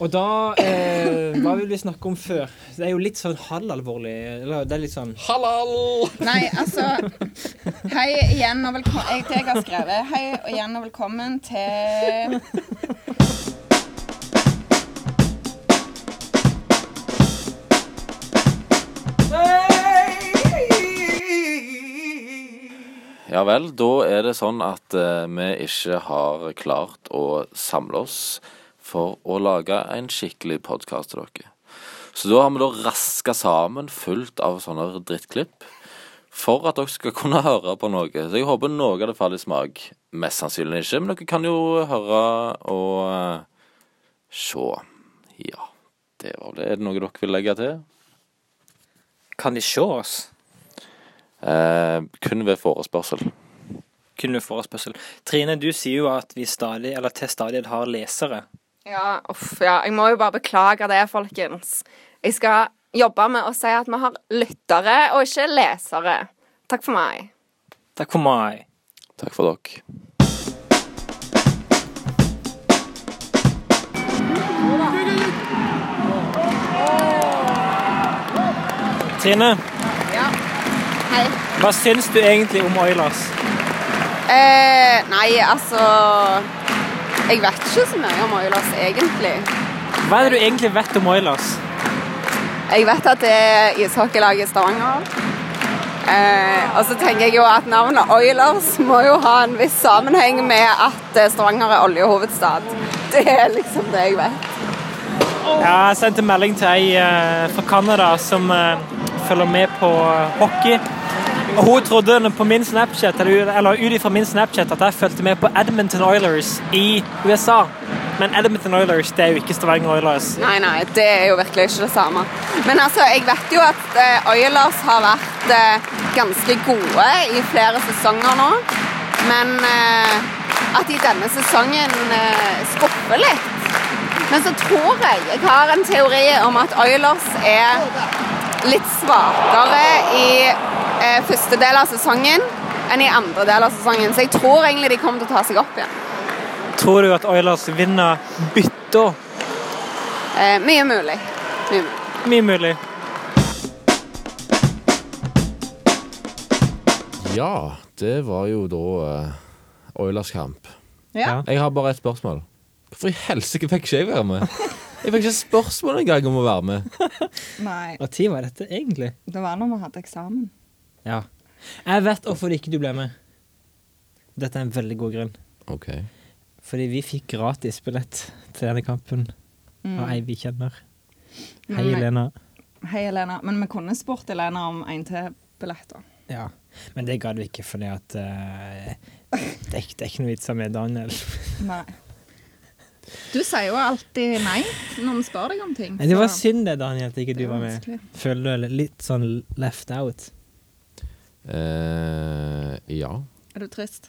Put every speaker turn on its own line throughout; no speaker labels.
Og da eh, Hva vil vi snakke om før? Det er jo litt sånn halvalvorlig. Eller det er litt sånn
Halal!
Nei, altså Hei igjen og velkommen Jeg, jeg har skrevet Hei og igjen og velkommen til
Ja vel, da er det sånn at eh, vi ikke har klart å samle oss for å lage en skikkelig podkast til dere. Så da har vi da raska sammen fullt av sånne drittklipp for at dere skal kunne høre på noe. Så jeg håper noe av det faller i smak. Mest sannsynlig ikke, men dere kan jo høre og eh, se. Ja, det var det. Er det noe dere vil legge til?
Kan de se oss?
Eh, kun ved forespørsel.
Kun ved forespørsel. Trine, du sier jo at vi stadig, eller til stadighet har lesere.
Ja, uff, ja. Jeg må jo bare beklage det, folkens. Jeg skal jobbe med å si at vi har lyttere og ikke lesere. Takk for meg.
Takk for meg.
Takk for dere.
Trine,
Ja. Hei.
hva syns du egentlig om Oilers?
Eh, nei, altså Jeg vet ikke så mye om Oilers, egentlig.
Hva er det du egentlig vet om Oilers?
Jeg vet at det er ishockeylaget i Stavanger. Eh, og så tenker jeg jo at navnet Oilers må jo ha en viss sammenheng med at eh, Stavanger er oljehovedstad. Det er liksom det jeg vet.
Ja, jeg sendte melding til ei eh, fra Canada som eh, følger med på eh, hockey. Og hun trodde nå på min Snapchat, eller, eller ut ifra min Snapchat at jeg fulgte med på Edmonton Oilers i USA. Men Edmonton Oilers det er jo ikke Stavanger Oilers.
Nei, nei, det er jo virkelig ikke det samme. Men altså, jeg vet jo at eh, Oilers har vært eh, ganske gode i flere sesonger nå. Men eh, at de denne sesongen eh, skuffer litt. Men så tror jeg jeg har en teori om at Oilers er litt svakere i eh, første del av sesongen enn i andre del av sesongen. Så jeg tror egentlig de kommer til å ta seg opp igjen.
Tror du at Oilers vinner bytta?
Eh, mye mulig. Mye mulig.
Mye mulig.
Ja, det var jo da uh, Oilers kamp.
Ja.
Jeg har bare ett spørsmål. Hvorfor i helsike fikk ikke jeg være med? Jeg fikk ikke spørsmål engang om å være med.
Nei. Når var dette egentlig?
Det var når vi hadde eksamen.
Ja. Jeg vet hvorfor ikke du ble med. Dette er en veldig god grunn.
Ok.
Fordi vi fikk gratis billett til denne kampen av ei vi kjenner. Hei,
Mm. Nei.
Elena.
Hei, Elena. Men vi kunne spurt Elena om en til billett, da.
Ja. Men det gadd vi ikke, fordi at eh, det, er, ikke- det er ikke noe vits med Daniel.
Nei. Du sier jo alltid nei når vi spør deg om ting.
Nei, det var
så
synd det, Daniel, at ikke
det
du
er
var med.
vanskelig.
Føler du deg litt sånn left out?
Eh, ja.
Er du trist?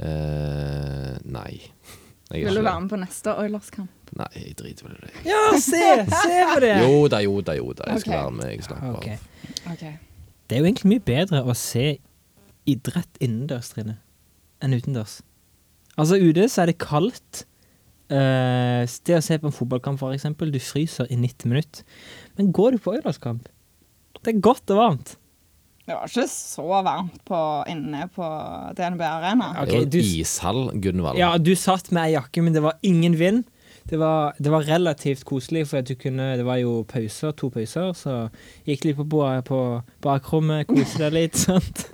Eh, nei. Jeg er
Vil du
ikke
være med på neste Oilers-kamp?
det. Nei, jeg driter vel i det.
Ja, se! Se på det!
Jo da, jo da, jo da. Jeg skal
Ok.
være med. Jeg slapper
Ok.
av.
Ok.
Det er jo egentlig mye bedre å se idrett innendørs, Trine, enn utendørs. Altså ute så er det kaldt. Eh, det å se på en fotballkamp, for eksempel, du fryser i 90 minutter. Men går du på Oilers-kamp? Det er godt og varmt.
Det var ikke så varmt på, inne på DNB Arena.
Ok,
det var
du-
en ishall, Gunvald.
Ja, du satt med ei jakke, men det var ingen vind. Det var, det var relativt koselig, for at du kunne, det var jo pauser, to pauser, så gikk litt på, bo- på bakrommet, koste deg litt, sant?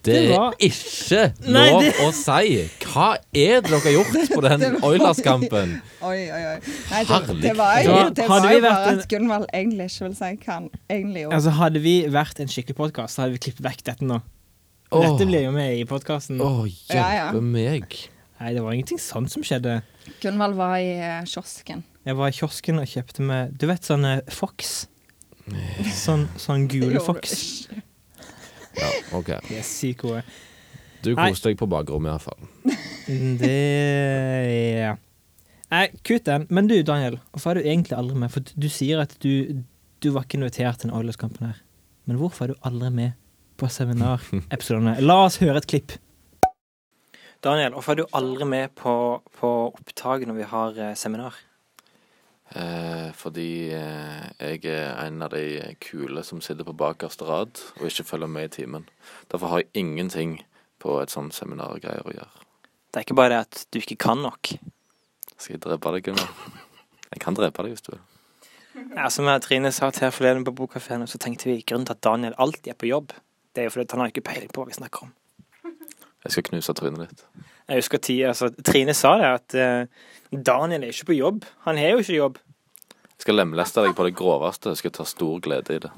det
det var-
er ikke
Nei,
lov
det-
å si! Hva er det dere har gjort på den Oilers-kampen?
Oi, oi, oi. Nei, det,
Herlig.
det var jo,
Da
det
hadde
var
vi
jo
vært
bare
en-
at Gunvald egentlig ikke vil si hva han egentlig gjorde.
Altså, hadde vi vært en skikkelig podkast, så hadde vi klippet vekk dette nå.
Åh.
Dette blir jo med i podkasten.
Å,
Ja, ja.
hjelpe meg.
Nei, det var ingenting sånt som skjedde.
Gunvald var i eh, kiosken.
Jeg var i kiosken og kjøpte meg Du vet sånne Fox? Sånn, sånn gule
Gjorde
Fox.
Ja, ok.
De er sykt gode.
Du
Nei.
koste deg på bakrommet iallfall.
Det ja. Nei, kutt den. Men du, Daniel, hvorfor er du egentlig aldri med? For du sier at du, du var ikke invitert til den Oilers-kampen her. Men hvorfor er du aldri med på seminarepisodene? La oss høre et klipp.
Daniel, hvorfor er du aldri med på, på opptak når vi har eh, seminar?
Eh, fordi eh, jeg er en av de kule som sitter på bakerste rad og ikke følger med i timen. Derfor har jeg ingenting på et sånt seminargreier å gjøre.
Det er ikke bare det at du ikke kan nok.
Skal jeg drepe deg, Gunnar? Jeg kan drepe deg hvis du vil.
Ja, som Trine sa til her forleden på Bokkafeen, så tenkte vi grunnen til at Daniel alltid er på jobb, det er jo fordi at han har ikke peiling på hva vi snakker om.
Jeg skal knuse trynet ditt.
Jeg husker ti, altså, Trine sa det, at eh, Daniel er ikke på jobb. Han har jo ikke jobb.
Jeg skal lemleste deg på det groveste. Jeg skal ta stor glede i det.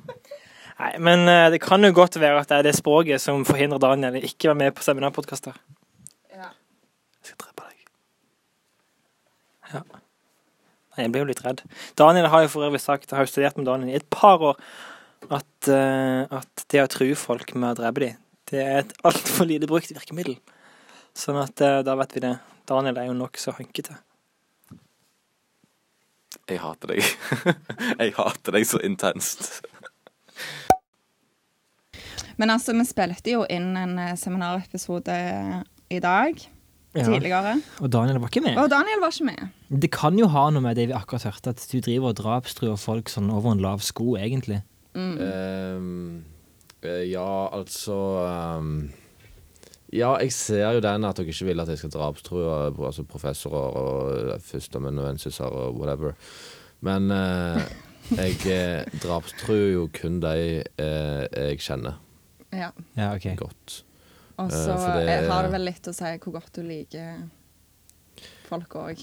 Nei, men eh, det kan jo godt være at det er det språket som forhindrer Daniel i ikke å være med på seminarpodkaster.
Jeg skal drepe deg.
Nei, Jeg ble jo litt redd. Daniel har jo for øvrig sagt, jeg har jo studert med Daniel i et par år, at, eh, at det å true folk med å drepe dem, det er et altfor lite brukt virkemiddel. Sånn at eh, da vet vi det. Daniel er jo nokså hankete.
Jeg hater deg. jeg hater deg så intenst.
Men altså, vi spilte jo inn en eh, seminarepisode eh, i dag. Tidligere.
Og Daniel var ikke med.
Og Daniel var ikke med.
Det kan jo ha noe med det vi akkurat hørte, at du driver og drapstruer folk sånn over en lav sko, egentlig.
Ehm, eh, ja, altså ehm, Ja, jeg ser jo den at dere ikke vil at jeg skal drapstrue altså professorer og eh, førsteamanuensiser og whatever. Men eh, jeg eh, drapstruer jo kun de eh, jeg kjenner
Ja.
Ja, ok.
godt.
Og
Eh,
så
for det-
eh, har det vel litt å si hvor godt du liker folk òg.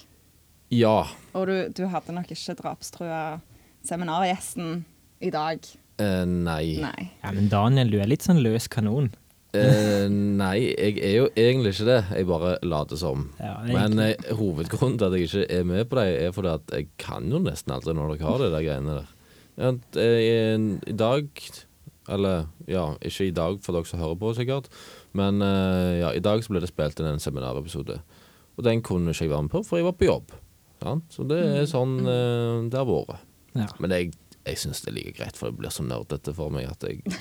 Ja.
Og du, du hadde nok ikke drapstrua seminargjesten i dag.
eh, nei.
Nei.
Ja, men Daniel, du er litt sånn løs kanon.
Eh, nei, jeg er jo egentlig ikke det. Jeg bare later som.
Ja,
Men eh, hovedgrunnen til at jeg ikke er med på det, er fordi at jeg kan jo nesten aldri når dere har de der greiene der. Ja, at, eh, I dag Eller ja, ikke i dag for dere som hører på, sikkert. Men eh, ja, i dag så ble det spilt inn en seminarepisode. Og den kunne ikke jeg være med på, for jeg var på jobb. Sant? Så det er sånn eh, det har vært.
Ja.
Men jeg, jeg syns det er like greit, for det blir så nerdete for meg at jeg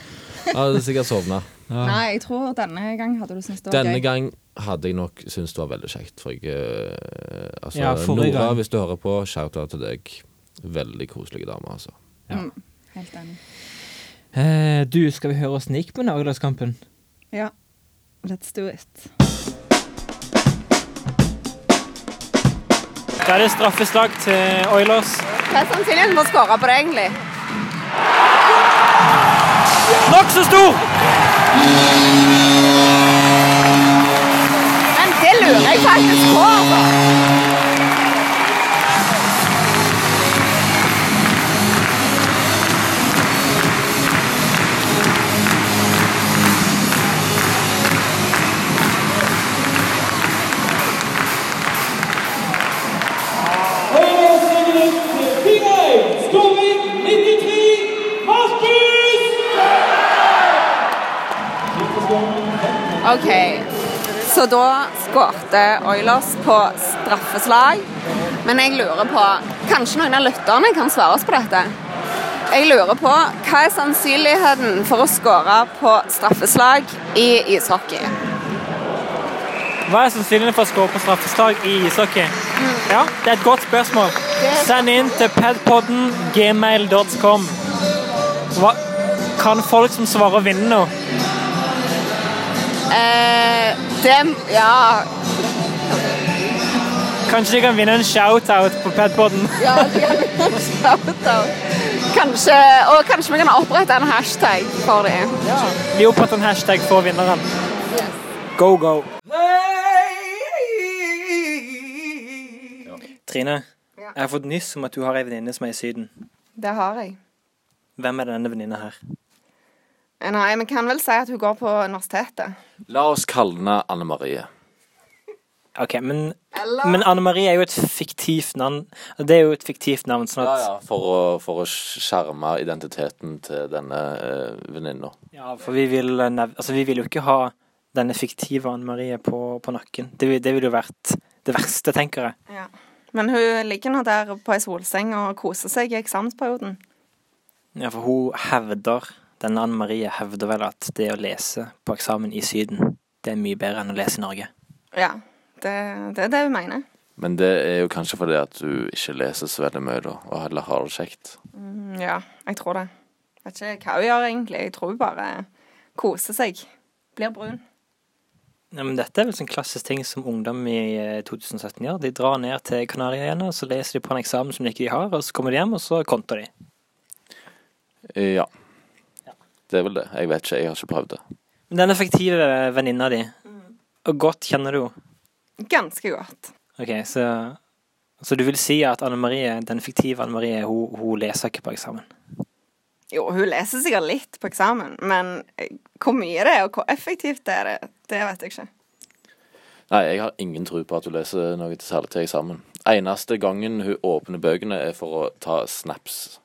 hadde sikkert sovna.
Nei, jeg tror denne gang hadde du syntes det var
Denne
gøy.
gang hadde jeg nok syntes det var veldig kjekt, for jeg eh, Altså,
Ja, forrige
Nora,
gang.
hvis du hører på, shout-out til deg. Veldig koselige dame, altså.
Mm, Helt enig.
Eh, du, skal vi høre åssen det gikk med Norgeskampen?
Ja. Let's do it.
Da er det straffeslag til Oilers.
Hva er sannsynligheten for å skåre på det, egentlig?
Nokså stor!
Men det lurer jeg faktisk på, altså. OK. Så da skårte Oilers på straffeslag. Men jeg lurer på Kanskje noen av lytterne kan svare oss på dette? Jeg lurer på hva er sannsynligheten for å skåre på straffeslag i ishockey?
Hva er sannsynligheten for å skåre på straffeslag i ishockey? Ja, det er et godt spørsmål. Send inn til padpodden gmail.com. Hva kan folk som svarer, vinne nå?
Eh, det Ja.
Kanskje de kan vinne en shout-out på padpodden?
ja det kan jeg shout out. Kanskje, og kanskje vi kan opprette en hashtag for dem.
Vi oppretter en hashtag for vinneren. Go, go.
Trine,
Ja.
jeg har fått nyss om at du har ei venninne som er i Syden.
Det har jeg.
Hvem er denne venninna her?
Nei, vi kan vel si at hun går på universitetet.
La oss kalle henne Anne Marie.
OK, men,
Eller
men Anne Marie er jo et fiktivt navn. Det er jo et fiktivt navn, sånn
Ja,
at
ja. For, å, for å skjerme identiteten til denne eh, venninna.
Ja, for vi vil, eh, nev altså, vi vil jo ikke ha denne fiktive Anne Marie på, på nakken. Det, vil- det ville jo vært det verste, tenker jeg.
Men hun ligger nå der på ei solseng og koser seg i eksamensperioden.
Ja, for hun hevder, denne Anne Marie hevder vel at det å lese på eksamen i Syden, det er mye bedre enn å lese i Norge.
Ja, det, det er det hun mener.
Men det er jo kanskje fordi at du ikke leser så veldig mye, da, og heller har det kjekt.
Mm, Ja, jeg tror det. Vet ikke hva hun gjør, egentlig. Jeg tror hun bare koser seg. Blir brun.
Ja, men dette er vel sånn klassisk ting som ungdom i eh, 2017 gjør. De drar ned til Kanariøyene, og så leser de på en eksamen som de ikke har, og så kommer de hjem, og så konter de.
Ja. Det er vel det. Jeg vet ikke, jeg har ikke prøvd det.
Men Den effektive eh, venninna di, og godt kjenner du henne.
Ganske godt.
Ok, så, så du vil si at Anne Marie, den fiktive Anne Marie, hun, hun leser ikke på eksamen?
Jo, hun leser sikkert litt på eksamen, men eh, hvor mye det er, og hvor effektivt det er, det- det vet jeg ikke.
Nei, jeg har ingen tro på at hun leser noe til særlig til eksamen. Eneste gangen hun åpner bøkene, er for å ta snaps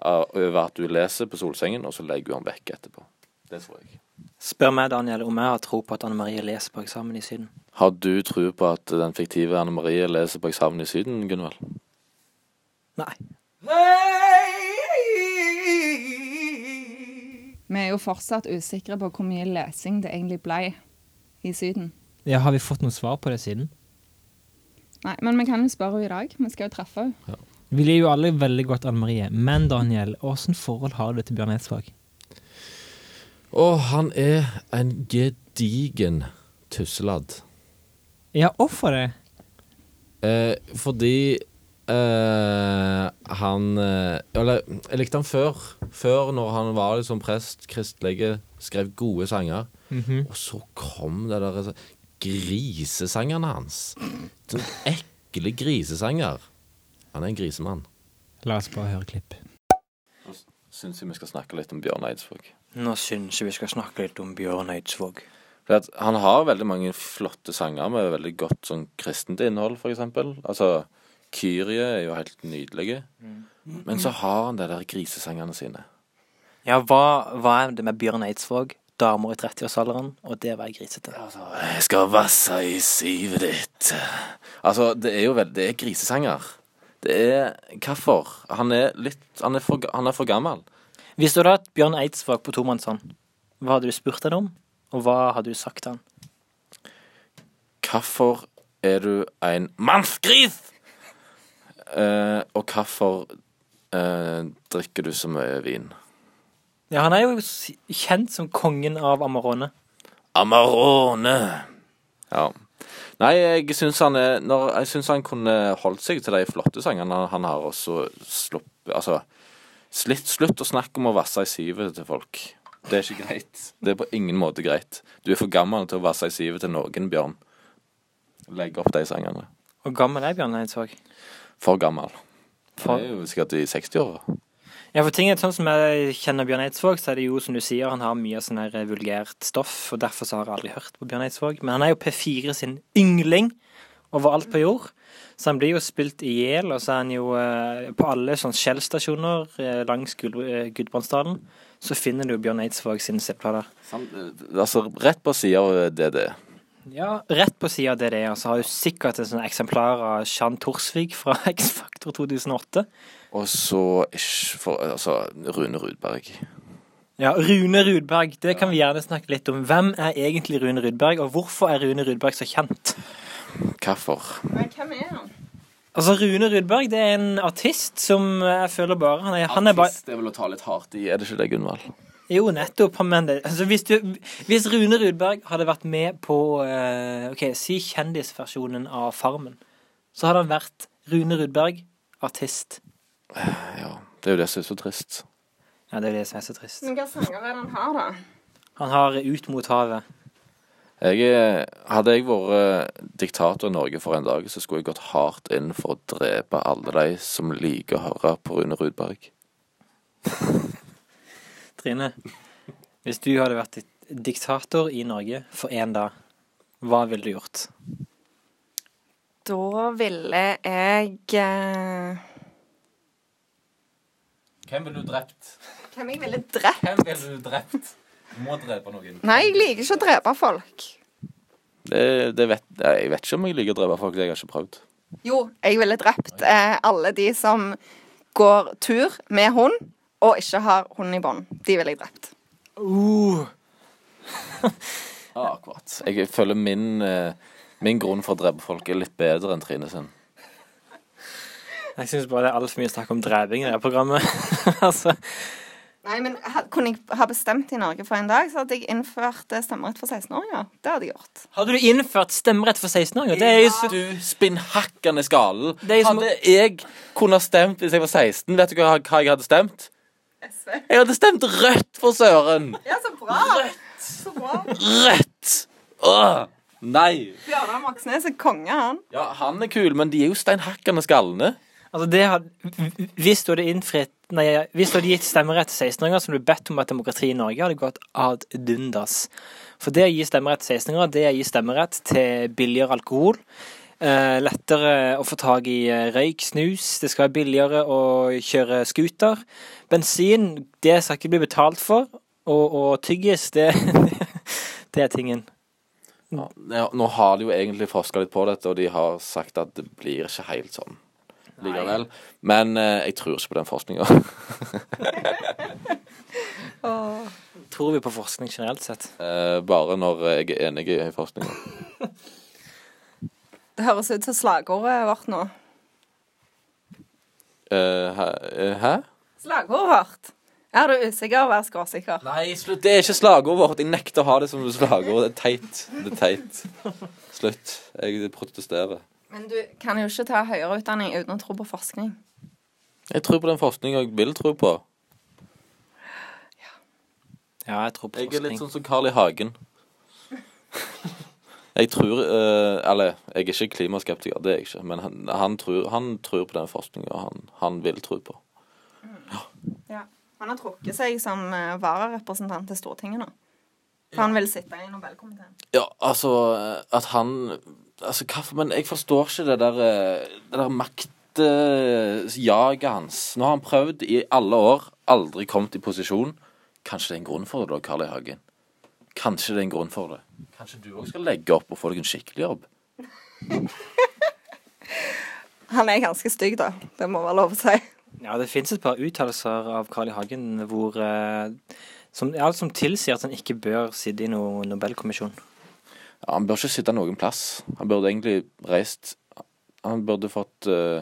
av- over at hun leser på solsengen, og så legger hun den vekk etterpå. Det tror jeg.
Spør meg, Daniel, om jeg har tro på at Anne Marie leser på eksamen i Syden.
Har du tro på at den fiktive Anne Marie leser på eksamen i Syden, Gunvald?
Nei.
Vi er jo fortsatt usikre på hvor mye lesing det egentlig ble i Syden.
Ja, har vi fått noe svar på det siden?
Nei, men vi kan jo spørre henne i dag. Vi skal jo treffe henne.
Vi liker jo alle veldig godt Anne Marie, men Daniel, åssen forhold har du til Bjørn Eidsvåg?
Og han er en gedigen tusseladd.
Ja, hvorfor det?
Eh, fordi eh, han eh, Eller, jeg likte han før. Før, når han var liksom prest, kristlege, skrev gode sanger. Og så kom det der grisesangerne hans. Sånne ekle grisesanger. Han er en grisemann.
La oss bare høre klipp.
Syns jeg vi skal snakke litt om Bjørn Eidsvåg.
Nå syns jeg vi skal snakke litt om Bjørn Eidsvåg.
Fordi at han har veldig mange flotte sanger med veldig godt sånn kristent innhold, for eksempel. Altså, Kyrie er jo helt nydelige. Men så har han de der grisesangene sine.
Ja, hva, hva er det med Bjørn Eidsvåg, damer i 30-årsalderen, og det å være grisete?
Altså, Jeg skal vasse i sivet ditt. Altså, det er jo veldig Det er grisesanger. Det er Hvorfor? Han er litt Han er for, han er for gammel.
Hvis du hadde hatt Bjørn Eidsvåg på tomannshånd, hva hadde du spurt han om? Og hva hadde du sagt til han?
Hvorfor er du en mannsgris? Eh, og hvorfor eh, drikker du så mye vin?
Ja, han er jo s- kjent som kongen av Amarone.
Amarone. Ja. Nei, jeg syns han, er- når, jeg synes han kunne holdt seg til de flotte sangene han- han har, og så sluppet Altså, slitt, slutt å snakke om å vasse i sivet til folk. Det er ikke greit. Det er på ingen måte greit. Du er for gammel til å vasse i sivet til noen, Bjørn. Legg opp de sangene.
Hvor gammel er Bjørn Eidsvåg?
For gammel.
For-
Det er jo sikkert i 60-åra.
Ja, for ting er sånn som jeg kjenner Bjørn Eidsvåg, så er det jo som du sier, han har mye sånn her vulgært stoff, og derfor så har jeg aldri hørt på Bjørn Eidsvåg. Men han er jo P4 sin yngling overalt på jord. Så han blir jo spilt i hjel, og så er han jo eh, på alle sånn Shell-stasjoner eh, langs Gud eh, Gudbrandsdalen, så finner du Bjørn Eidsvåg sine CD-plater.
Altså, rett på sida av E. DD.
Ja, rett på sida av DDE, og så har du sikkert et sånt eksemplar av Jean Torsvig fra X-Factor 2008.
Og så ish, for, altså, Rune Rudberg.
Ja, Rune Rudberg, det kan vi gjerne snakke litt om. Hvem er egentlig Rune Rudberg, og hvorfor er Rune Rudberg så kjent?
Hvorfor?
Men hvem er han?
Altså, Rune Rudberg det er en artist som jeg føler bare Han er, han er bare
Artist, det er vel å ta litt hardt i, er det ikke det, Gunvald?
Jo, nettopp. Men det, altså, hvis, du, hvis Rune Rudberg hadde vært med på eh, OK, si kjendisversjonen av Farmen, så hadde han vært Rune Rudberg, artist.
Ja, det er jo det som er så trist.
Ja, det er det som er så trist.
Men Hvilke sanger er det han har, da?
Han har Ut mot havet.
Jeg, eh, hadde jeg vært eh, diktator i Norge for en dag, så skulle jeg gått hardt inn for å drepe alle de som liker å høre på Rune Rudberg.
Trine, hvis du hadde vært dik- diktator i Norge for én dag, hva ville du gjort?
Da ville jeg eh,
Hvem ville du drept?
Hvem jeg ville drept?
Hvem ville du drept? Du må drepe noen.
Nei, jeg liker ikke å drepe folk.
Det, det vet, nei, jeg vet ikke om jeg liker å drepe folk, det har jeg ikke prøvd.
Jo, jeg ville drept eh, alle de som går tur med hund og ikke har hund i bånd. De ville jeg drept.
Ja, akkurat. Jeg føler min, eh, min grunn for å drepe folk er litt bedre enn Trine sin.
Jeg syns bare det er altfor mye snakk om dreping i det her programmet. altså,
Nei, men ha- Kunne jeg ha bestemt i Norge for en dag, så hadde jeg innført eh, stemmerett for 16-åringer. Det hadde jeg gjort.
Hadde du innført stemmerett for 16-åringer? Det er jo så
Du spinnhakkende skallen.
Det er jo som-
Hadde jeg kunnet stemt hvis jeg var 16, vet du hva, hva jeg hadde stemt?
SV.
Jeg hadde stemt rødt, for søren!
Ja, så bra! Så bra.
Rødt! Åh, nei!
Bjørnar Moxnes er konge, han.
Ja, han er kul, men de er jo steinhakkende skallene.
Altså, det hadde, hvis du hadde innfritt Nei, hvis du hadde gitt stemmerett til 16-åringer, som du bedt om at demokrati i Norge hadde gått ad dundas. For det å gi stemmerett til 16-åringer, det er å gi stemmerett til billigere alkohol. Eh, lettere å få tak i eh, røyk, snus. Det skal være billigere å kjøre scooter. Bensin, det skal ikke bli betalt for. Og, og tyggis, det, det er tingen. Mm.
Ja, Nå har de jo egentlig forska litt på dette, og de har sagt at det blir ikke helt sånn likevel. Men eh, jeg tror ikke på den forskninga.
tror vi på forskning generelt sett?
Eh, bare når jeg er enig i forskninga.
Det høres ut som slagordet vårt nå.
Eh, hæ?
Slagordet vårt. Er du usikker, vær skråsikker.
Nei, slutt. Det er ikke slagordet vårt. Jeg nekter å ha det som slagord. Det er teit. Det er teit. Slutt. Jeg protesterer.
Men du kan jo ikke ta høyere utdanning uten å tro på forskning.
Jeg tror på den forskninga jeg vil tro på.
Ja, jeg tror på
Jeg er litt
forskning.
sånn som Carl I. Hagen. Jeg tror eh, Eller, jeg er ikke klimaskeptiker, det er jeg ikke. Men han, han, tror, han tror på den forskninga han, han vil tro på.
Han har trukket seg som eh, vararepresentant til Stortinget nå. For han vil sitte i Nobelkomiteen.
Ja, altså eh, At han Altså, hva Men jeg forstår ikke det der, eh, det der maktjaget hans. Nå har han prøvd i alle år, aldri kommet i posisjon. Kanskje det er en grunn for det, da, Carl I. Hagen? Kanskje det er en grunn for det. Kanskje du òg skal legge opp og få deg en skikkelig jobb?
Han er ganske stygg, da. Det må være lov å si.
Ja, det fins et par uttalelser av Carl I. Hagen hvor, eh, som, ja, som tilsier at han ikke bør sitte i noen Nobelkommisjon.
Ja, han bør ikke sitte noen plass. Han burde egentlig reist Han burde fått eh,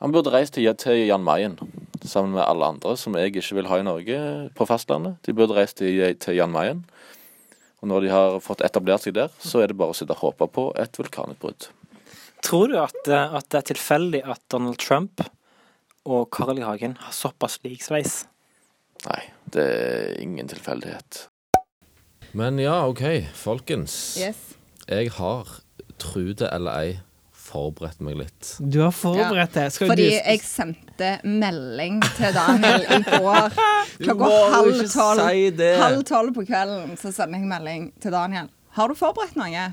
Han burde reist til, til Jan Mayen sammen med alle andre som jeg ikke vil ha i Norge på fastlandet. De burde reist til, til Jan Mayen. Og når de har fått etablert seg der, så er det bare å sitte og håpe på et vulkanutbrudd.
Tror du at, eh, at det er tilfeldig at Donald Trump og Carl I. Hagen har såpass lik sveis?
Nei, det er ingen tilfeldighet.
Men ja, OK, folkens.
Yes.
Jeg har, tro det eller ei, forberedt meg litt.
Du har forberedt deg. Skal
Fordi
du,
jeg sendte melding til Daniel i går klokka halv tolv. Halv tolv på kvelden så sender jeg melding til Daniel. Har du forberedt noe?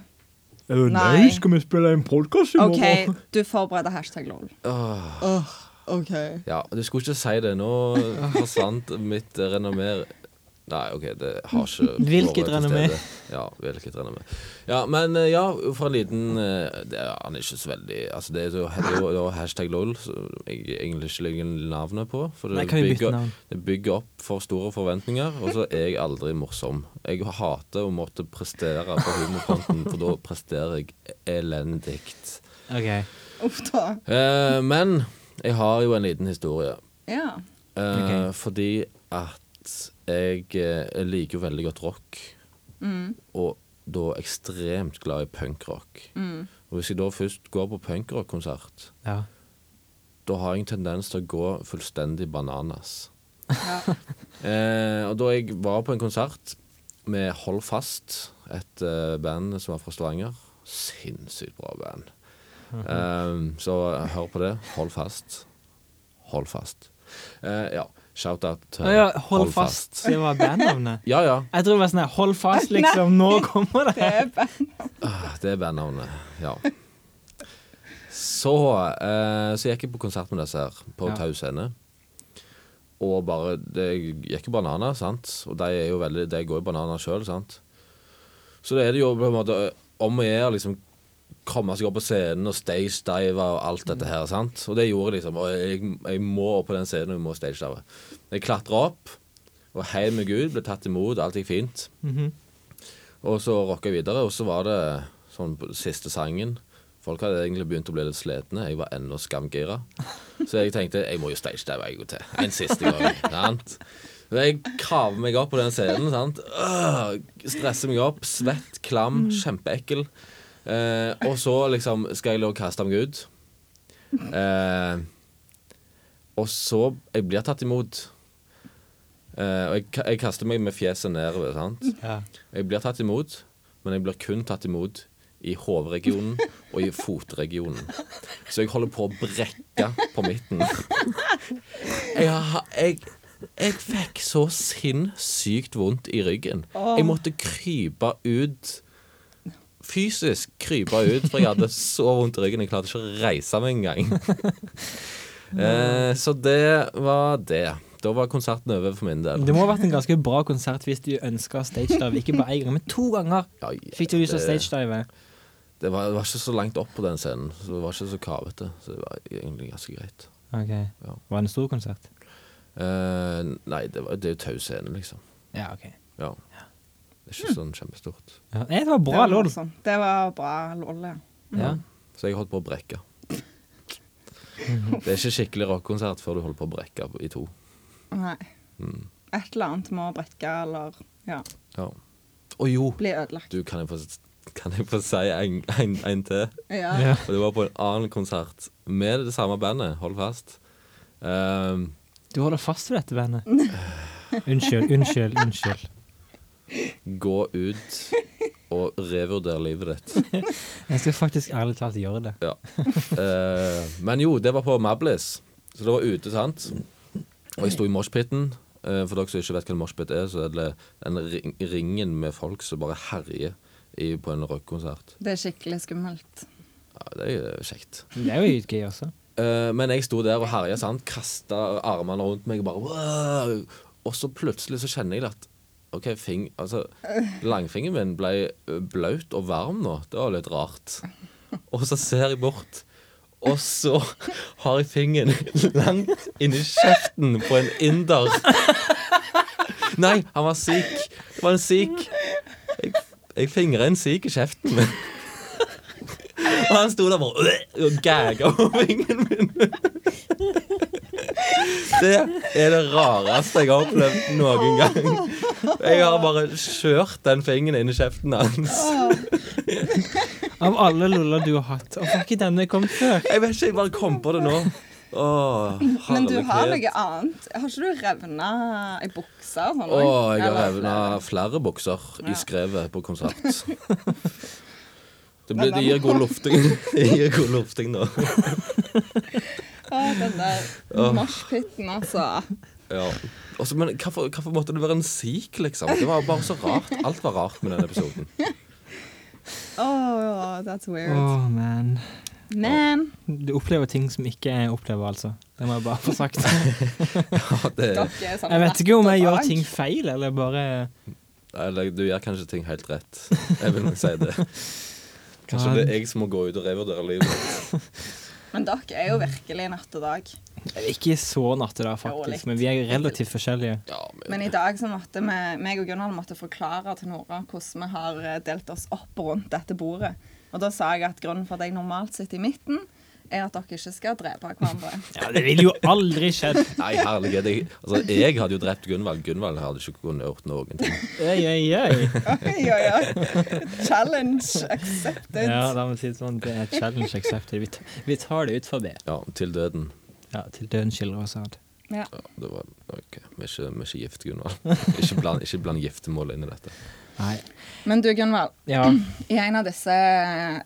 nei, skal vi spille en podkast i morgen? OK, du forbereder hashtag lol. OK.
Ja, du skulle ikke si det. Nå forsvant mitt eh, renommé Nei, OK, det har ikke
Hvilket
vært til
renommé?
stede. Ja, hvilket renommé. Ja, men eh, ja, for en liten eh, det er, Han er ikke så veldig Altså, det er jo- det er jo det er jo hashtag lol som jeg egentlig ikke legger navnet på. For det,
Nei, kan vi bytte
bygger,
navn?
det bygger opp for store forventninger, og så er jeg aldri morsom. Jeg hater å måtte prestere på humorfronten, for da presterer jeg elendig.
Ok.
Uff da.
Eh, men jeg har jo en liten historie.
Ja.
Eh,
Ok.
Fordi at jeg eh, liker jo veldig godt rock. Og da ekstremt glad i punkrock. Og hvis jeg da først går på punkrock-konsert,
Ja.
da har jeg en tendens til å gå fullstendig bananas. eh, og da jeg var på en konsert med Hold Fast, et eh, band som var fra Stavanger Sinnssykt bra band. Eh, så hør på det. Hold fast. Hold fast. Eh, ja. Shout-out til
Å ja, hold fast. Det var bandnavnet.
Ja, ja.
Jeg tror det var sånn her, hold fast, liksom. Nå kommer det.
Ah, Det er bandnavnet, ja. Så, eh, så gikk jeg på konsert med disse her, på
Ja.
Tau scene. Og bare Det gikk jo bananer, sant. Og de, er jo veldig, de går jo bananer sjøl, sant. Så det er det jo på en måte eh, om å gjøre liksom komme seg opp på scenen og stagedive og alt dette her, sant. Og det gjorde jeg liksom. Og jeg, jeg må opp på den scenen, og jeg må stagedive. Jeg klatra opp, og hei med Gud, ble tatt imot, alt gikk fint. Og så rocka jeg videre, og så var det sånn på siste sangen Folk hadde egentlig begynt å bli litt slitne. Jeg var ennå skamgira. Så jeg tenkte jeg må jo stage dive en gang til. En siste gang. sant? Så Jeg kaver meg opp på den scenen. sant? Øh, stresser meg opp. Svett, klam, kjempeekkel. Eh, og så liksom skal jeg lov å kaste meg ut. Eh, og så Jeg blir tatt imot. Eh, og jeg, ka- jeg kaster meg med fjeset nedover. sant? Jeg blir tatt imot, men jeg blir kun tatt imot i hoderegionen og i fotregionen. Så jeg holder på å brekke på midten. Jeg, har- jeg, jeg fikk så sinnssykt vondt i ryggen. Jeg måtte krype ut. Fysisk krype ut, for jeg hadde så vondt i ryggen. Jeg klarte ikke å reise meg engang. Eh, så det var det. Da var konserten over for min del.
Det må ha vært en ganske bra konsert hvis du ønska stagedive. Ikke bare én gang, men to ganger
Ja,
fikk du lyst til å
det-
stagedive.
Det var, det var ikke så langt opp på den scenen, så det var ikke så kavete. Så det var egentlig ganske greit.
Ok.
Ja.
Var det en stor konsert?
Eh, nei, det, var, det er jo tau scene, liksom.
Ja, ok.
Ja. Det er ikke sånn kjempestort.
Ja, nei, det var
Det
bra altså.
var
lån.
morsomt. Det var bra lol, ja.
Ja.
Så jeg holdt på å brekke. Det er ikke skikkelig rockkonsert før du holder på å brekke i to.
Nei. Et eller annet må brekke eller ja,
Ja. Å jo!
bli ødelagt.
Du, kan jeg få, kan jeg få si en, en, en til?
Ja.
Ja.
Og det var på en annen konsert med det samme bandet, hold fast. Eh,
Du holder fast ved dette bandet. Unnskyld, unnskyld, unnskyld.
gå ut og revurder livet ditt.
Jeg skal faktisk ærlig talt gjøre det.
Ja. Eh, men jo, det var på Mablis. Så det var ute, sant. Og jeg sto i moshpiten. Eh, for dere som ikke vet hva en moshpit er, så er det den ring ringen med folk som bare herjer i, på en rockekonsert.
Det er skikkelig skummelt.
Ja, det er jo kjekt.
Det er jo gøy også.
Eh, men jeg sto der og herja, sant. Kasta armene rundt meg og bare «Wow!» Og så plutselig så kjenner jeg at OK, fing, altså, langfingeren min ble eh, blaut og varm nå. Det var litt rart. Og så ser jeg bort, og så har jeg fingeren langt inni kjeften på en inder. Nei, han var syk. Det var en syk. Jeg, jeg fingrer en syk i kjeften min. Og han sto der bare «Øh», og gagga over fingeren min. Det er det rareste jeg har opplevd noen gang. Jeg har bare kjørt den fingeren inn i kjeften hans.
Av alle loller du har hatt, hvorfor har ikke denne kommet før?
Jeg vet ikke, jeg bare kom på det nå. Åh,
Men du har
herlighet.
noe annet. Har ikke du revna i buksa og sånn?
Å,
også?
jeg har
Eller-
revna flere bukser
Ja.
i skrevet på konsert. Det, blir, det gir god lufting. Det gir god lufting nå.
Å, den der moshpiten, altså.
Ja. Også, men hvorfor, hvorfor måtte det være en sik, liksom? Det var bare så rart. Alt var rart med den episoden.
Oh, that's weird.
Åh, man.
Men
Du opplever ting som ikke jeg opplever, altså. Det må jeg bare få sagt.
Ja, det,
dere er sånn
Jeg vet ikke om jeg
rett og
gjør
bak.
ting feil, eller bare
eller, du gjør kanskje ting helt rett. Jeg vil nok si det. Kanskje det er jeg som må gå ut og revurdere livet.
Men dere er jo virkelig natt og dag.
Ikke så natte da,
Jo, litt.
faktisk, men vi er relativt forskjellige.
Ja, men,
Men i dag så måtte vi, meg og Gunnar måtte forklare til Nora hvordan vi har eh, delt oss opp rundt dette bordet. Og da sa jeg at grunnen for at jeg normalt sitter i midten, er at dere ikke skal drepe hverandre.
Ja, det ville jo aldri skjedd.
nei, herlighet. Jeg, altså, jeg hadde jo drept Gunvald. Gunvald hadde ikke kunnet gjort noen ting.
Oi, oi, oi.
Oi, oi, oi. Challenge accepted.
Ja, la meg si det sånn. Det er challenge accepted. Vi tar, vi tar det ut for det.
Ja, til døden.
Ja, til døden skiller oss ad.
Ja.
Ja, det var OK. Vi er ikke, vi er ikke gift, Gunvald. Ikke bland, ikke bland giftermål inn i dette.
Nei.
Men du, Gunvald.
Ja.
I en av disse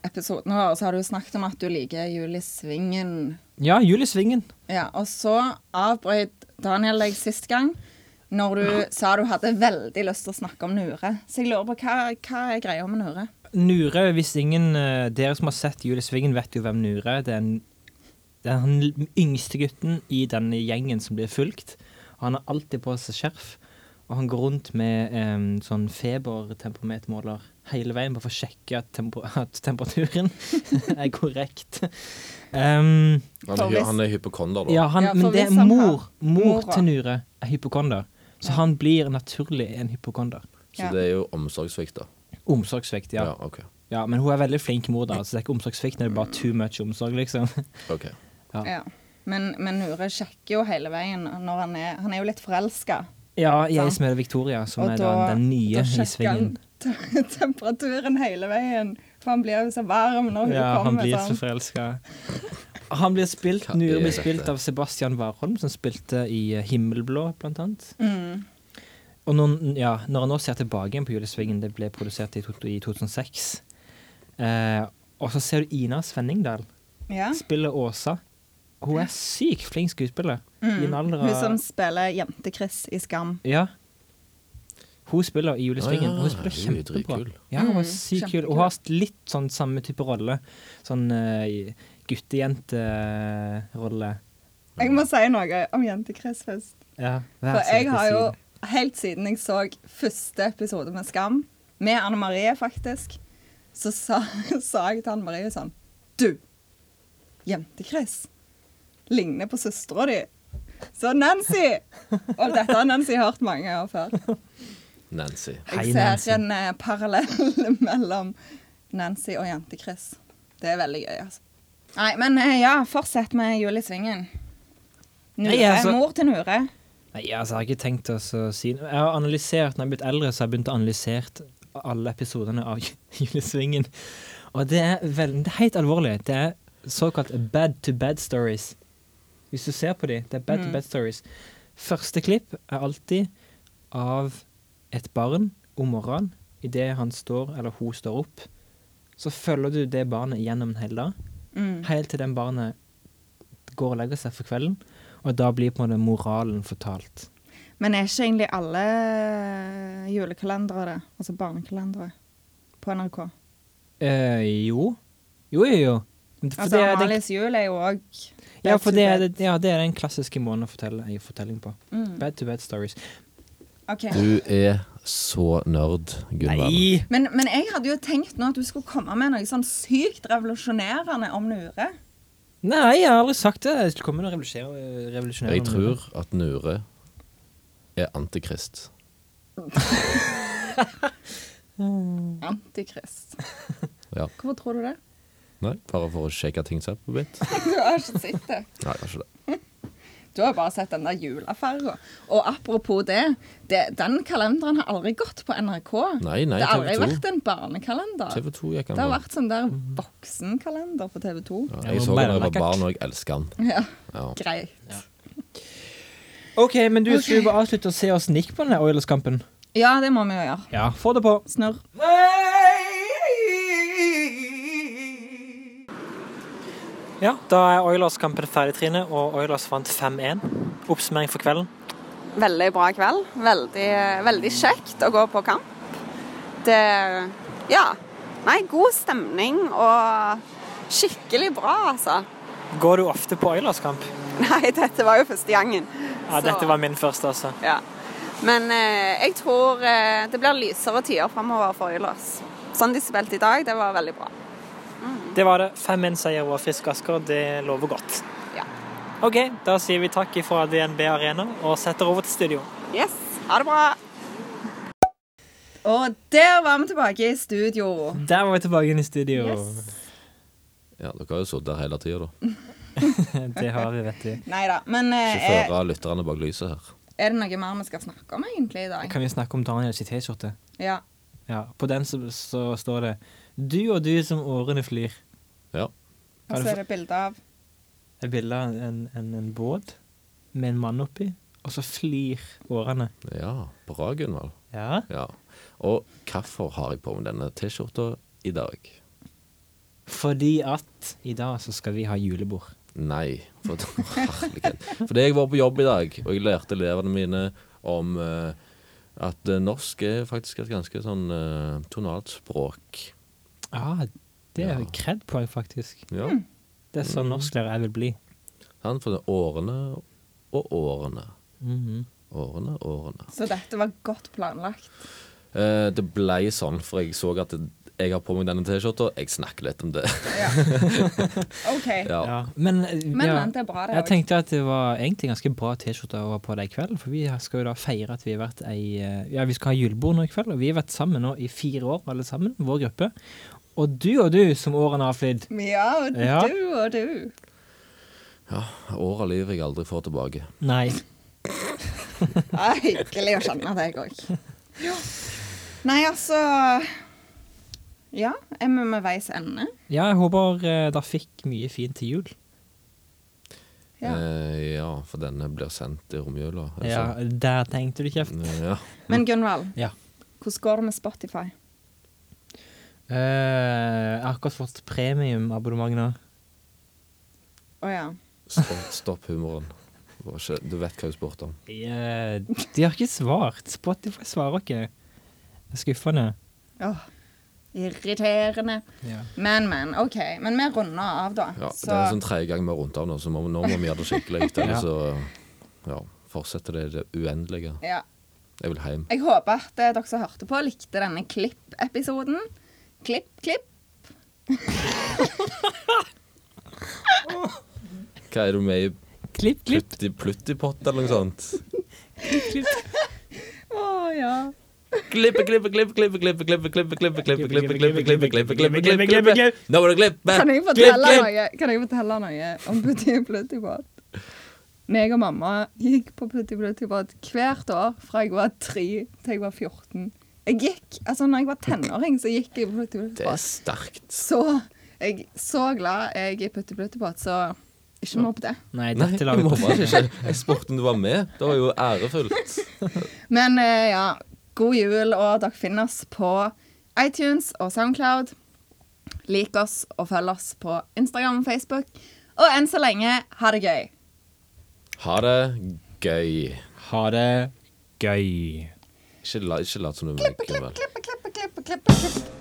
episodene våre så har du jo snakket om at du liker Julie Svingen.
Ja, Julie Svingen.
Ja, og så avbrøt Daniel deg sist gang når du sa du hadde veldig lyst til å snakke om Nure. Så jeg lurer på hva, hva er greia med Nure?
Nure, hvis ingen eh, dere som har sett Julie Svingen, vet jo hvem Nure er. Det er, en, det er den yngste gutten i denne gjengen som blir fulgt. Han har alltid på seg skjerf, og han går rundt med em, sånn febertemperamentomåler hele veien, bare for å sjekke at, tempo, at temperaturen er korrekt. Em,
Han,
For
er hy-
hvis-
han er hypokonder, da.
ja, han,
Ja, for
men det
hvis
er
han
mor,
har-
mor
mora.
til Nure er hypokonder, så han blir naturlig en hypokonder.
Så
Ja.
det er jo omsorgssvikt, da.
Omsorgssvikt, ja.
Ja, ok.
Ja, men hun er veldig flink mor, da, så det er ikke omsorgssvikt. Det er bare too much omsorg, liksom.
Ok.
Ja. Men, men Nure sjekker jo hele veien når han er Han er jo litt forelska.
Ja, jeg som heter Victoria, som
Og
er da,
da-
den nye
Da
i
sjekker han
svingen.
te- temperaturen hele veien. For han blir jo så varm når hun
Ja, han
kommer.
blir så
sånn.
forelska. Han blir spilt,
Hva
Nure
er
blir
dette?
spilt av Sebastian Warholm, som spilte i eh, Himmelblå, blant annet.
Mm.
Og når, ja, når han nå ser tilbake igjen på Julesvingen, det ble produsert i, to- i 2006, eh, og så ser du Ina Svenningdal
Ja.
spille Åsa. Hun er sykt flink skuespiller. I en alder av
Mm. Hun som spiller jente-Chris i Skam.
Ja. Hun spiller i Julesvingen.
Ah, ja.
Hun spiller
Hun er jo
kjempebra.
dritkul.
Ja, hun er sykt kul.
Mm, kjempekul.
Hun har litt sånn samme type rolle. Sånn eh, uh, guttejenterolle.
Jeg må si noe om jente-Chris først.
Ja, vær
For
så
jeg
snill,
har jo
si det.
helt siden jeg så første episode med Skam, med Anne Marie faktisk, så sa, sa jeg til Anne Marie sånn Du, jente-Chris ligner på søstera di. Så Nancy! Og dette har Nancy hørt mange år før.
Nancy.
Hei,
Jeg
Nancy.
ser en eh, parallell mellom Nancy og jente-Chris. Det er veldig gøy, altså. Nei, men eh, ja, fortsett med Jul i Svingen. Nure,
Nei, altså-
Mor til Nure.
Nei, altså, jeg har ikke tenkt å så si noe. Jeg har analysert, når jeg har blitt eldre, så har jeg begynt å analysere alle episodene av Julesvingen. Og det er, vel, det er helt alvorlig. Det er såkalt bad to bad stories. Hvis du ser på de, det er bad to bad stories. Første klipp er alltid av et barn om morgenen. Idet han står, eller hun står opp, så følger du det barnet gjennom en hel dag. Helt til den barnet går og legger seg for kvelden. Og da blir på en måte moralen fortalt.
Men er ikke egentlig alle eh, julekalendere det? Altså barnekalendere på NRK?
Eh, jo. Jo, jo, jo. For
Altså,
det er den,
Amalies jul er jo òg
ja, for det er, ja, det er den klassiske måten å fortelle en fortelling på. Bad to bad stories.
OK.
Du er så nerd, Gunvald.
Nei!
Men, men jeg hadde jo tenkt nå at du skulle komme med noe sånn sykt revolusjonerende om Nure.
Nei, jeg har aldri sagt det. Jeg skulle komme med noe revolusjon- revolusjonerende.
Jeg tror at Nure er antikrist.
Antikrist.
Ja.
Hvorfor tror du det?
Nei, bare for å shake things up a bit.
Du har ikke sett det.
Nei, det er ikke det.
Du har bare sett den der julefarga. Og apropos det, det, den kalenderen har aldri gått på NRK.
Nei, nei,
det har aldri
TV2.
vært en barnekalender.
TV 2 gikk
Det har
an.
vært sånn der voksenkalender på TV 2.
Mm. Ja,
Ja,
jeg
det
så
var
den da jeg var
beinlakkert.
barn, og jeg elsker den.
Ja,
Ja.
greit.
OK, men du skulle bare avslutte å se oss nikke på denne Oilers-kampen.
Ja, det må vi jo gjøre.
Ja, få det på.
Snurr.
Ja, da er Oilers-kampen ferdig, Trine, og Oilers vant 5-1. Oppsummering for kvelden.
Veldig bra kveld. Veldig, veldig kjekt å gå på kamp. Det Ja. Nei, god stemning og skikkelig bra, altså.
Går du ofte på Oilers-kamp?
Nei, dette var jo første gangen.
Ja,
Så-
dette var min første, altså.
ja. Men eh, jeg tror eh, det blir lysere tider framover for Oilers. Sånn de spilte i dag, det var veldig bra.
Det var det. 5-1-seier over Frisk Asker, det lover godt.
Ja.
OK, da sier vi takk fra DNB Arena og setter over til studio.
Yes, ha det bra.
Og der var vi tilbake i studio.
Der var vi tilbake inn i studio.
ja, dere har jo sittet der hele tida, da.
Det har vi, vet du.
Nei da. Men
Ikke
eh, er,
føre lytterne bak lyset her.
er det noe mer vi skal snakke om egentlig i dag?
Kan vi snakke om Daniel sin T-skjorte?
Ja.
Ja, På den så, så står det 'Du og du som årene flyr'.
Ja.
Og så er det bilde av
Et bilde av en, en, en båt med en mann oppi, og så flyr årene.
ja. Bra, Gunvald.
Ja.
Ja. Og hvorfor har jeg på meg denne T-skjorta i dag?
Fordi at i dag så skal vi ha julebord.
Nei. For, herlighet. Fordi jeg var på jobb i dag, og jeg lærte elevene mine om eh, at eh, norsk er faktisk et ganske sånn eh, tonalt språk.
Ah, det er
Ja.
kred på jeg faktisk.
Mm.
Ja.
Det er sånn norsklærer jeg vil bli.
Sant? For det er årene og årene.
Mm-hmm.
Årene, årene.
Så dette var godt planlagt.
Eh, det blei sånn, for jeg så at det, jeg har på meg denne T-skjorta. Jeg snakker litt om det.
Ja. OK.
ja.
Ja. Men, eh,
Men
ja,
vent, det er bra, det
jeg
òg.
tenkte at det var egentlig ganske bra T-skjorte å ha på deg i kveld, for vi skal jo da feire at vi har vært ei eh, Ja, vi skal ha julebord nå i kveld, og vi har vært sammen nå i fire år alle sammen, vår gruppe. Og du og du, som årene har flydd.
Ja, og
Ja.
du og du.
År av livet jeg aldri får tilbake.
Nei.
Ja, hyggelig å kjenne deg òg. Nei, altså Ja, er vi ved veis ende?
Ja, jeg håper eh, dere fikk mye fint til jul.
Ja.
Eh, ja, for denne blir sendt i romjula. altså.
Ja, Der tenkte du kjeft.
Eh, ja.
Men Gunvald,
Ja.
hvordan går det med Spotify?
Eh, jeg har akkurat fått premiumabonnement nå.
Å ja.
Stopp, stopp humoren. Det var ikke, du vet hva jeg spurte om.
Eh, de har ikke svart. Spotify svarer ikke. Det er skuffende.
Åh, irriterende.
Ja.
Men, men. OK. Men vi runder av, da.
Ja, Det
så
er sånn tredje gang vi har rundt av nå, så må, nå må vi gjøre det skikkelig. Eller så eh, ja, fortsetter det i det uendelige.
ja.
Jeg vil hjem.
Jeg håper at eh, dere som hørte på, likte denne klipp-episoden. Klipp, klipp.
Hva er du med i
Klipp, klipp,
Plutti Pluttipott eller noe sånt?
klipp.
Å ja.
Klippe, klippe, klippe, klippe, klippe, klippe, klippe, klippe, klippe, klippe, klippe, klippe, klippe, klippe, klippe,
klippe,
klippe. Nå må du klippe!
Kan jeg
Klipp,
fortelle
klipp!
noe, kan jeg fortelle noe om Putti Plutti Båt? Meg og mamma gikk på Putti Plutti Båt hvert år fra jeg var 3 til jeg var 14. Jeg gikk, altså når jeg var tenåring, så gikk jeg på Putti Plutti
Det er
Båt.
sterkt.
Så jeg så glad jeg er i Putti Plutti Båt, så ikke mobb det.
Nei,
Nei,
dette
jeg
lager
må
vi på.
bare ikke. Jeg spurte om du var med. Det var jo ærefullt.
Men eh, ja, god jul, og dere finner oss på iTunes og Soundcloud. Lik oss og følg oss på Instagram og Facebook. Og enn så lenge, ha det gøy.
Ha det gøy.
Ha det gøy.
Ikke la- ikke lat som du er med. Gunvald.
klippe, klippe, klippe, klippe.